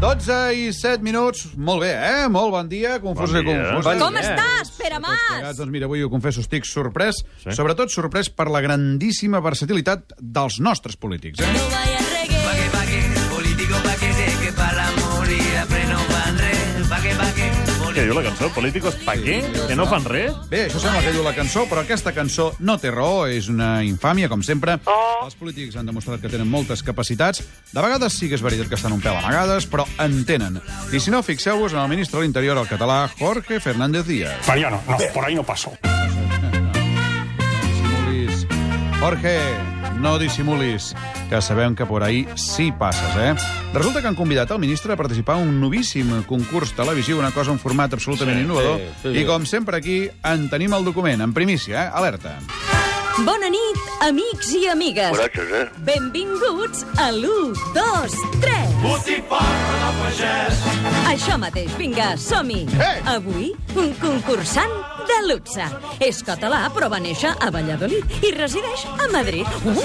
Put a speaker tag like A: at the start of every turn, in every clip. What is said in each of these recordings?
A: 12 i 7 minuts. Molt bé, eh? Molt bon dia. Confús
B: Bon
A: bon
B: dia.
A: confús. Eh,
C: Com estàs, Pere Mas?
A: Doncs mira, avui ho confesso, estic sorprès.
B: Sí?
A: Sí? Sobretot sorprès per la grandíssima versatilitat dels nostres polítics, eh?
C: No vayas
D: Pa'
C: reggae.
D: que pa' que, político pa' que sé que pa' la morir freno van re. Pa' que pa' que,
B: Què
D: político.
B: diu la cançó? Políticos pa' què? Que no fan res?
A: Bé, això sembla que diu la cançó, però aquesta cançó no té raó, és una infàmia, com sempre. Oh. Els polítics han demostrat que tenen moltes capacitats. De vegades sí que és veritat que estan un pèl amagades, però en tenen. I si no, fixeu-vos en el ministre de l'Interior, el català Jorge Fernández Díaz.
E: Mariano, no, por ahí no pasó.
A: Dissimulis. Jorge, no dissimulis, que sabem que por ahí sí passes, eh? Resulta que han convidat al ministre a participar en un novíssim concurs televisiu, una cosa en format absolutament sí, innovador, sí, sí, i com sempre aquí en tenim el document, en primícia, eh? Alerta.
C: Bona nit, amics i amigues.
F: Borratxos, eh?
C: Benvinguts a l'1, 2, 3. Això mateix, vinga, som-hi.
A: Eh!
C: Avui, un concursant de luxe. És català, però va néixer a Valladolid i resideix a Madrid. Uh,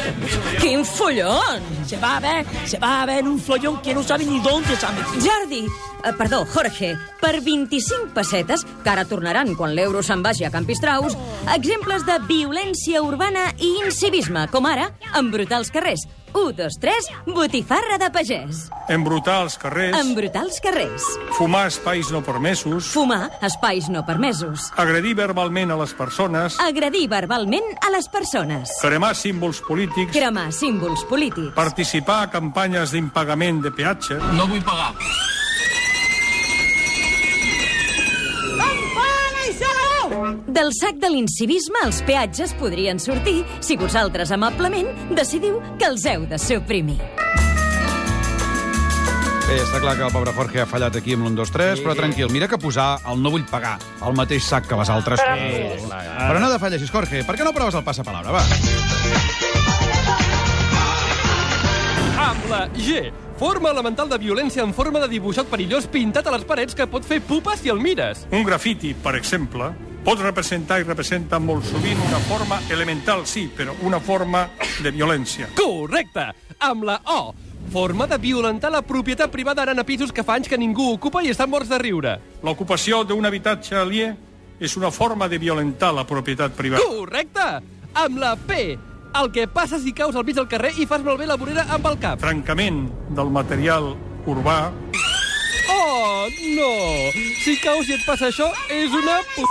C: quin follon!
G: Se va a ver, se va a ver un flollón que no sabe ni dónde se ha metido.
C: Jordi, eh, perdó, Jorge, per 25 pessetes, que ara tornaran quan l'euro se'n vagi a Campistraus, exemples de violència urbana i incivisme, com ara embrutar els carrers. 1, 2, 3, botifarra de pagès.
H: Embrutar els carrers,
C: Embrutar els carrers.
H: fumar espais no permesos,
C: Fumar espais no permesos.
H: agredir verbalment a les persones,
C: Agredir verbalment a les persones.
H: cremar símbols polítics,
C: Cremar símbols polítics.
H: participar a campanyes d'impagament de peatge,
C: Del sac de l'incivisme els peatges podrien sortir si vosaltres amablement decidiu que els heu de suprimir.
A: Bé, està clar que el pobre Jorge ha fallat aquí amb l'1, 2, 3, però tranquil, mira que posar el no vull pagar al mateix sac que les altres. Però, però no defalleixis, Jorge. Per què no proves el passapalabra, va?
I: Amb la G. Forma elemental de violència en forma de dibuixat perillós pintat a les parets que pot fer pupa si el mires.
H: un grafiti, per exemple, pot representar i representa molt sovint una forma elemental, sí, però una forma de violència.
I: Correcte! Amb la O. Forma de violentar la propietat privada ara en pisos que fa anys que ningú ocupa i estan morts de riure.
H: L'ocupació d'un habitatge aliè és una forma de violentar la propietat privada.
I: Correcte! Amb la P. El que passa si caus al mig del carrer i fas malbé la vorera amb el cap.
H: Trencament del material urbà,
I: Oh, no! Si caus i et passa això, és una... P...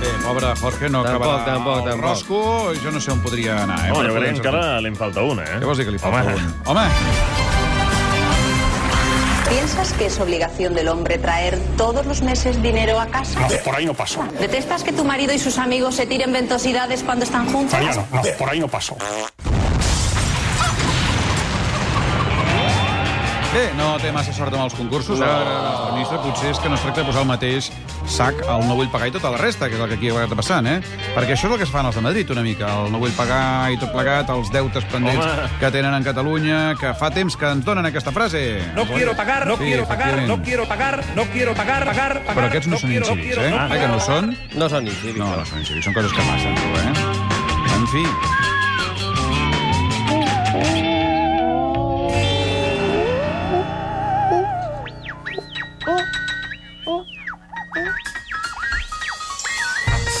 A: Bé, pobre Jorge no
J: Tampoc,
A: acabarà
J: tampoc,
A: el
J: tampoc.
A: rosco. Jo no sé on podria anar, eh?
B: No,
A: per poder
B: jo crec que
A: encertar.
B: encara li en falta una, eh?
A: Què vols dir que li falta un?
B: Home.
A: Home!
K: ¿Piensas que es obligación del hombre traer todos los meses dinero a
E: No,
K: casa?
E: por ahí no pasó.
K: ¿Detestas que tu marido y sus amigos se tiren ventosidades cuando están juntos?
E: Mariano, no, por ahí no pasó.
A: Bé, no té massa sort amb els concursos. No. Ara, el nostre ministre, potser és que no es tracta de posar el mateix sac al no vull pagar i tota la resta, que és el que aquí ha vegades passant, eh? Perquè això és el que es fan els de Madrid, una mica. El no vull pagar i tot plegat, els deutes pendents
B: Home.
A: que tenen en Catalunya, que fa temps que ens donen aquesta frase.
L: No quiero pagar, no
A: Sí,
L: quiero pagar,
A: efectivament.
L: no quiero pagar, no quiero pagar, pagar, pagar.
A: Però aquests no, són
L: quiero,
A: incivils,
L: quiero,
A: eh?
L: no
A: ah, que
L: quiero.
A: no ho són?
J: No són incívics.
A: No, no són incivils, són coses que passen, tu, eh? En fi...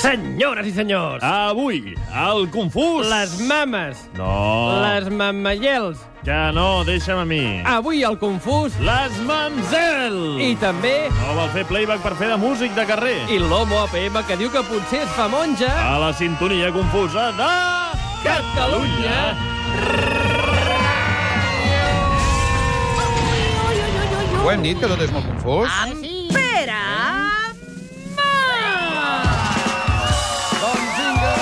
G: Senyores i senyors,
B: Avui, el confús...
G: les mames,
B: No,
G: les mamallels,
B: que no, deixa'm a mi.
L: Ah.
G: avui el confús
B: Les mamzel!
G: i també
B: No vol fer playback per fer de músic de carrer.
G: i l'homo APM que diu que potser es fa monja.
A: Ah.
B: A la sintonia confusa de... Catalunya!
A: Ho hem dit, que tot és molt confús?
G: Ah,
C: Pere!
A: Doncs vinga,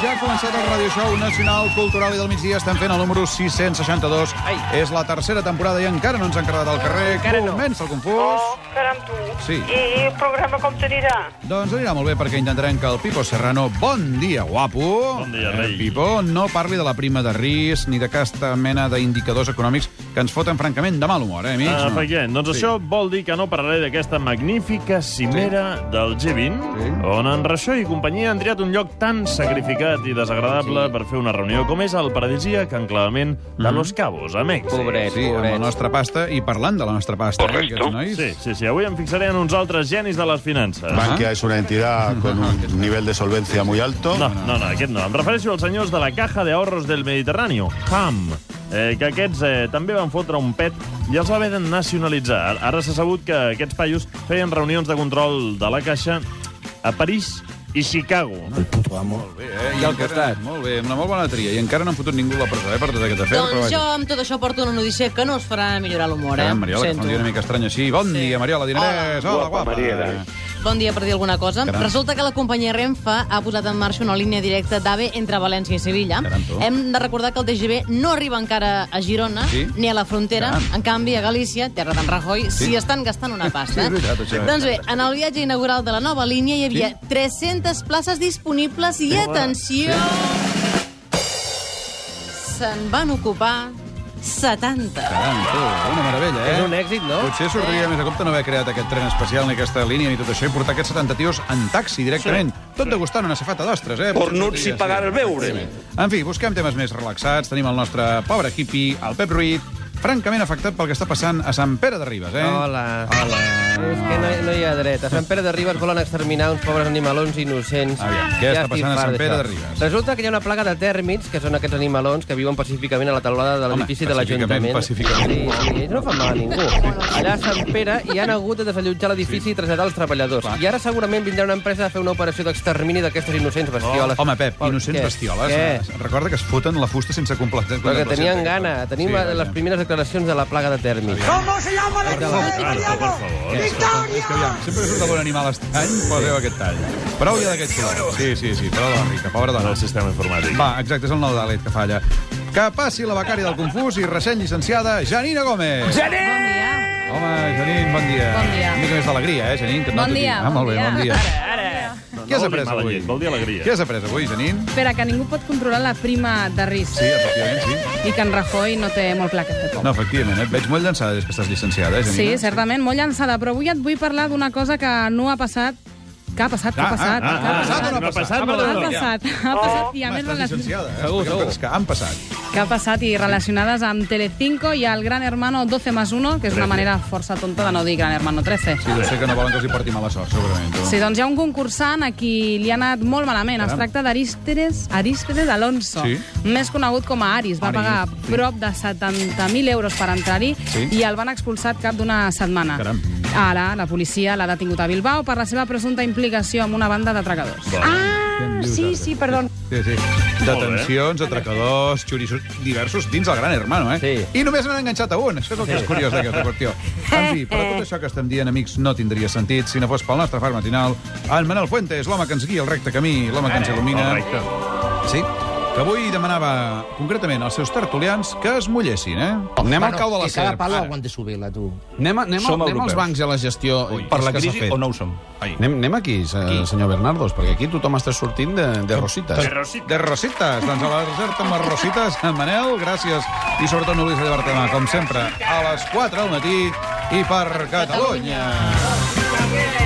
A: ja ha començat el Radio Show Nacional Cultural i del migdia estem fent el número 662.
G: Ai.
A: És la tercera temporada i encara no ens han quedat al carrer.
G: Encara no.
A: Comença el confús.
L: Oh, caram, tu.
A: Sí.
L: I el programa com t'anirà?
A: Doncs anirà molt bé perquè intentarem que el Pipo Serrano, bon dia, guapo,
B: Bon dia,
A: eh,
B: rei.
A: Pipo, no parli de la prima de risc ni de aquesta mena d'indicadors econòmics que ens foten francament de mal humor, eh, amics?
B: Ah,
A: No.
B: Efectivament. Doncs
A: Sí.
B: això vol dir que no parlaré d'aquesta magnífica cimera del G20,
A: Sí.
B: on en Reixó i companyia han triat un lloc tan sacrificat i i desagradable per fer una reunió, com és el paradisíac enclavament de
A: Mhm.
B: Los Cabos, a Mèxic.
A: Pobret, sí, pobret. amb la nostra pasta i parlant de la nostra pasta, eh, aquests nois.
B: Sí, sí, sí. Avui em fixaré en uns altres genis de les finances.
A: Bankia
F: es una entidad con un nivel de solvencia muy alto.
B: No, no, no, aquest no. Em refereixo als senyors de la Caja de Ahorros del Mediterráneo, CAM, eh, que aquests eh, també van fotre un pet i els va haver de nacionalitzar. Ara- Ara s'ha sabut que aquests paios feien reunions de control de la Caixa a París i Chicago.
A: Eh, I al costat. Molt bé, amb una molt bona tria. I encara no han fotut ningú a la presó, eh, per tot aquest afer.
J: Doncs jo amb tot això porto una notícia que no us farà millorar l'humor, eh?
A: Eh, Mariola, que fa un dia una mica estrany així. Bon sí. dia, Mariola Dinerès. Hola, guapa. Mariola.
J: Bon dia per dir alguna cosa.
A: Caram.
J: Caram. Resulta que la companyia Renfe ha posat en marxa una línia directa d'AVE entre València i Sevilla.
A: Caram, tu.
J: Hem de recordar que el TGV no arriba encara a Girona
A: Sí?
J: Ah,
A: Ah.
J: ni a la frontera.
A: Caram.
J: En canvi, a Galícia, terra d'en Rajoy,
A: Sí.
J: s'hi sí. estan gastant una
A: Sí,
J: pasta.
A: és veritat, això.
J: doncs bé, en el viatge inaugural de la nova línia hi havia
A: Sí?
J: 300 places disponibles i, atenció, se'n van ocupar 70.
A: Caram, tu, una meravella, eh?
G: És un èxit, no?
A: Potser
L: Eh.
A: sortiria més a compte no haver creat aquest tren especial ni aquesta línia ni tot això i portar aquests 70 tios en taxi directament, tot degustant una safata d'ostres, eh?
L: Cornuts i pagar el beure.
A: En fi, busquem temes més relaxats. Tenim el nostre pobre hippie, el Pep Ruiz, francament afectat pel que està passant a Sant Pere de Ribes, eh?
M: Hola.
A: Hola.
M: És que no, no hi ha dret. A Sant Pere de Ribes volen exterminar uns pobres animalons innocents.
A: Aviam, què està
M: estic
A: passant a
M: fart
A: Sant Pere
M: d'això.
A: de Ribes?
M: Resulta que hi ha una plaga de tèrmits, que són aquests animalons que viuen pacíficament a la teulada de l'edifici de l'Ajuntament.
A: pacíficament.
M: Sí, sí, ells no fan mal a ningú. Allà a Sant Pere hi han hagut de desallotjar l'edifici i traslladar els treballadors. I ara segurament vindrà una empresa a fer una operació d'extermini d'aquestes innocents bestioles.
A: Oh, Home, Pep, innocents
M: Què?
A: bestioles.
M: Què?
A: eh? Recorda que es foten la fusta sense completar...
M: Però que tenien gana. Tenim
A: Sí,
M: les primeres declaracions de la plaga de tèrmits.
N: ¿Cómo se llama el equipo italiano?
A: És que, aviam, sempre surt algun animal estrany, poseu aquest tall. Prou ja d'aquest color. Sí, sí, sí, prou de la rica, pobra dona.
B: El sistema informàtic.
A: Va, exacte, és el nou d'Alet que falla. Que passi la becària del Confús i recent llicenciada Janina Gómez.
O: Bon dia.
A: Home, Janín, bon dia.
O: Bon dia.
A: Una mica més d'alegria, eh, Janín? Que et
O: Bon
A: noto aquí.
O: dia,
A: Ah, molt bé,
O: bon
A: bon
O: dia.
A: dia.
O: Ara,
A: Què has après avui? Vol dir alegria. Què has après avui, Janín?
O: Espera, que ningú pot controlar la prima de risc.
A: Sí, efectivament, sí.
O: I que en Rajoy no té molt clar què fer.
A: No, efectivament, eh? et veig molt llançada des que estàs llicenciada, eh,
O: sí,
A: Janina?
O: certament, molt llançada, però avui et vull parlar d'una cosa que no ha passat que ha passat, que ha
A: Ah, ah,
O: passat.
A: ah,
O: que ha
A: ah,
O: passat.
A: ah, no ha passat, no, no,
O: ha
A: no, Oh, no.
O: passat, ha passat, i a més
A: Estàs
O: relacionat.
A: llicenciada, eh? Segur, segur. Coses que han passat.
O: que ha passat i relacionades amb Telecinco i el Gran Hermano 12 más 1, que és
A: Trece.
O: una manera força tonta de no dir Gran Hermano 13.
A: Sí, deu ser que no volen que els hi porti mala sort, segurament. tu.
O: Sí, doncs hi ha un concursant a qui li ha anat molt malament. Es
A: Caram.
O: tracta d'Arístedes Arístedes Alonso,
A: Sí.
O: més conegut com a Aris. Va
A: Aris,
O: pagar
A: sí.
O: prop de 70.000 euros per entrar-hi
A: Sí.
O: i el van expulsar al cap d'una setmana.
A: Caram.
O: Ara la policia l'ha detingut a Bilbao per la seva presumpta implicació amb una banda d'atracadors.
A: Ah,
O: sí, sí, perdó.
A: Sí, sí. Detencions, atracadors, xoriços diversos dins del Gran Hermano, eh? Sí. I només n'han enganxat a un. Això és el que és curiós d'aquesta qüestió. En fi, però tot això que estem dient, amics, no tindria sentit si no fos pel nostre far matinal, en Manel Fuentes, l'home que ens guia el recte camí, l'home que ens il·lumina.
B: Correcte.
A: Sí, que avui demanava concretament als seus tertulians que es mullessin, eh? Anem al cau de la
P: que cada
A: serp.
P: palo
A: ara.
P: aguante subirla, tu.
Q: Anem, anem,
P: Som
Q: anem
P: europeus.
Q: als bancs i a la gestió Ui,
P: Per la
Q: que s'ha
P: crisi
Q: fet.
P: o no ho som?
A: Ai.
Q: Anem, anem aquí, aquí, senyor Bernardos, perquè aquí tothom està sortint de, de rosites.
A: De Rositas. De Rositas. Doncs a la recerca amb les Rositas, en Manel, gràcies. I sobretot no oblidis de llevar-te demà, com sempre, a les 4 del matí i per Catalunya.
N: Catalunya.